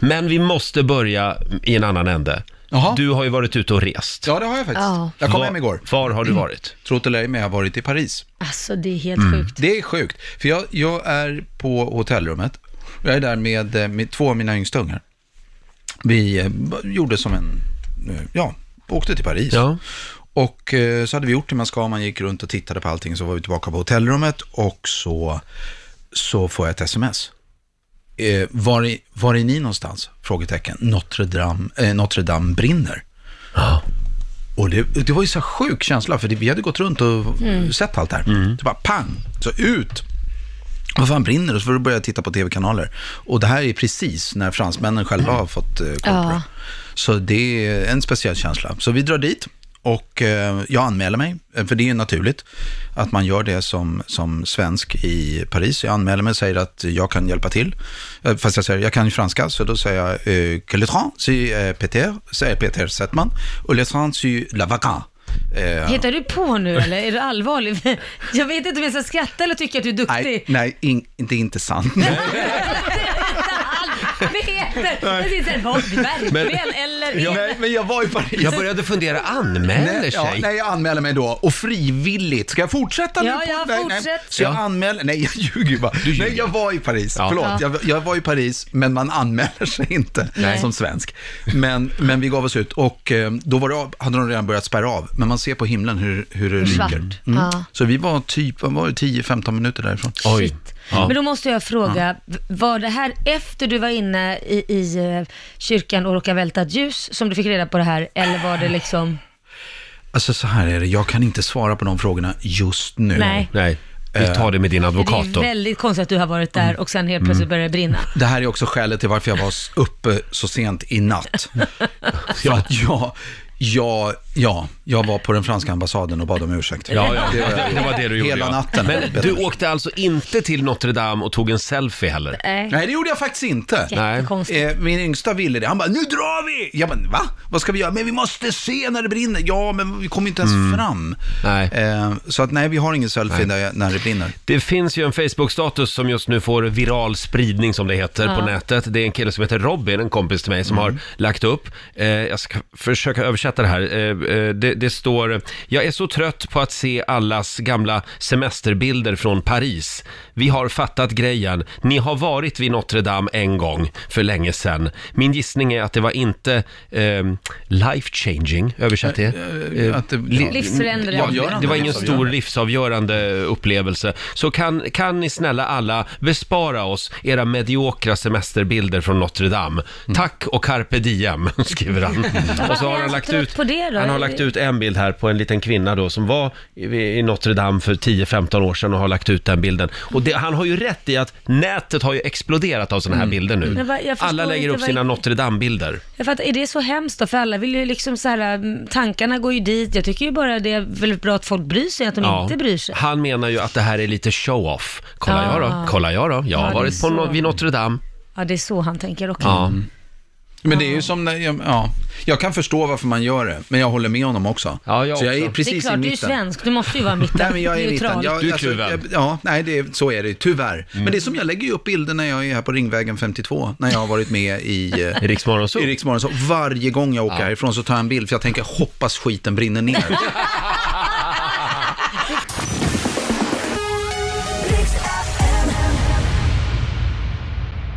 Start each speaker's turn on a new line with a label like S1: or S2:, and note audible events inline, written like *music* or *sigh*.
S1: Men vi måste börja i en annan ände.
S2: Jaha.
S1: Du har ju varit ute och rest.
S2: Ja, det har jag faktiskt.
S3: Ja.
S2: Jag kom
S1: Var-
S2: hem igår.
S1: Var har du varit?
S2: Tro det eller ej, men jag har varit i Paris.
S3: Alltså det är helt
S1: Mm.
S3: sjukt.
S2: Det är sjukt, för jag, jag är på hotellrummet. Jag är där med, eh, med två av mina yngsta ungar. Vi eh, b- gjorde som en, eh, ja, åkte till Paris.
S1: Ja.
S2: Och eh, så hade vi gjort det man ska, man gick runt och tittade på allting, så var vi tillbaka på hotellrummet och så, så får jag ett sms. Eh, var, är, var är ni någonstans? Frågetecken. Notre Dame, eh, Notre Dame brinner. Och det, det var ju så här sjuk känsla, för det, vi hade gått runt och sett allt det här. Så bara pang, så ut. Vad fan brinner det? Så får du börja titta på tv-kanaler. Och det här är precis när fransmännen själva har fått eh, koll på
S3: Ja.
S2: det. Så det är en speciell känsla. Så vi drar dit och eh, jag anmäler mig, eh, för det är naturligt att man gör det som, som svensk i Paris. Jag anmäler mig och säger att jag kan hjälpa till. Eh, Fast jag säger, jag kan ju franska, så då säger jag eh, que le train, si eh, Peter, säger Peter Settman, och le train, si la vacan. Eh,
S3: Hittar du på nu eller? Är du allvarlig? *laughs* Jag vet inte om jag ska skratta eller tycka att du
S2: nej,
S3: är duktig.
S2: nej, in, det är inte sant. *laughs*
S3: *laughs* Peter! Jag sitter här, vad, verkligen eller inte?
S2: Nej, men jag var i Paris.
S1: Jag började fundera, anmäler sig?
S2: Nej, ja, nej, jag anmäler mig då och frivilligt. Ska jag fortsätta nu?
S3: Ja,
S2: på-
S3: ja,
S2: nej, Nej.
S3: fortsätt.
S2: Så jag anmäler, nej jag ljuger ju bara. Nej, jag var i Paris.
S1: Ja.
S2: Förlåt,
S3: Ja.
S2: jag, jag var i Paris, men man anmäler sig inte
S3: Nej.
S2: som svensk. Men, men vi gav oss ut och eh, då var det, av- hade de redan börjat spärra av. Men man ser på himlen hur, hur det
S3: Svart.
S2: ryker.
S3: Ja.
S2: Så vi var typ, vad var det, 10-15 minuter därifrån.
S1: Oj.
S3: Shit.
S1: Ja.
S3: Men då måste jag fråga, v- var det här efter du var inne i, i eh, kyrkan och råkade välta ett ljus som du fick reda på det här? Eller var det liksom,
S2: Alltså så här är det, jag kan inte svara på de frågorna just nu.
S3: nej.
S1: Nej,
S2: Eh,
S1: vi tar det med din
S3: Det
S1: advokat
S3: är
S1: då.
S3: väldigt konstigt att du har varit
S1: Mm.
S3: där och sen helt plötsligt börjar det brinna.
S2: Det här är också skälet till varför jag var s- uppe så sent
S1: *laughs*
S2: i natt. För att jag, jag, ja, jag var på den franska ambassaden och bad om ursäkt.
S1: Ja, ja,
S2: Det var jag.
S1: det, det var det du gjorde.
S2: Hela
S1: ja.
S2: natten.
S1: Men du åkte alltså inte till Notre Dame och tog en selfie heller?
S3: Nej,
S2: Nej, det gjorde jag faktiskt inte.
S1: Nej.
S3: jättekonstigt.
S2: Eh, Min yngsta ville det. Han bara, nu drar vi! Jag bara, va? Vad ska vi göra? Men vi måste se när det brinner. Ja, men vi kommer inte ens fram.
S1: Mm. Nej.
S2: Eh, Så att nej, vi har ingen selfie där jag- när det brinner.
S1: Det finns ju en Facebook-status som just nu får viral spridning som det heter på nätet. Det är en kille som heter Robin, en kompis till mig, som
S2: Mm.
S1: har lagt upp. Eh, jag ska försöka översätta det här. Eh, eh, det, det står, jag är så trött på att se allas gamla semesterbilder från Paris. Vi har fattat grejen. Ni har varit vid Notre Dame en gång för länge sedan. Min gissning är att det var inte eh, life changing, översatt det.
S2: Eh, Att det, ja.
S3: Livsförändrande.
S2: Ja, gör han
S1: Det var ingen
S2: Livsavgörande.
S1: stor livsavgörande upplevelse. Så kan, kan ni snälla alla bespara oss era mediokra semesterbilder från Notre Dame.
S2: Mm.
S1: Tack och carpe diem, *laughs* skriver han. Och så
S3: Mm. är
S1: har
S3: han
S1: han
S3: så
S1: lagt
S3: trött
S1: ut,
S3: på det då?
S1: han har lagt ut en bild här på en liten kvinna då som var i i Notre Dame för 10-15 år sedan och har lagt ut den bilden. Och det, han har ju rätt i att nätet har ju exploderat av sådana här bilder nu.
S3: Mm. Men vad- jag förstår
S1: Alla lägger
S3: inte
S1: upp
S3: vad-
S1: sina Notre Dame-bilder.
S3: Jag fattar, är det så hemskt då? För alla vill ju liksom så här, mm, tankarna går ju dit. Jag tycker ju bara det är väldigt bra att folk bryr sig, att de
S1: Ja.
S3: inte bryr sig.
S1: Han menar ju att det här är lite show-off. Kolla
S3: Ah.
S1: jag då, kolla jag då. Jag har
S3: Ja, det
S1: varit
S3: är
S1: på
S3: så.
S1: no- vid Notre Dame.
S3: Ja, det är så han tänker också.
S1: Ja.
S2: Men det är ju som, när jag- ja, jag kan förstå varför man gör det, men jag håller med honom också.
S1: Ja, jag
S2: så jag
S1: också.
S2: är
S3: Det är
S2: precis i
S3: klart, du är ju
S2: mitten.
S3: svensk, du måste
S2: *laughs*
S3: ju vara mitten.
S2: Nej, men jag är i mitten.
S3: Neutral.
S2: Jag,
S1: Du är kluven. Mm.
S2: jag- ja, nej, det, är- så är det ju, tyvärr. Men det är som jag lägger ju upp bilder när jag är här på Ringvägen 52, när jag har varit
S1: *laughs*
S2: med i... eh,
S1: I Riksmorgon
S2: I
S1: så. *laughs*
S2: Riksmorgon, så varje gång jag åker härifrån så tar jag en bild, för jag tänker hoppas skiten brinner ner.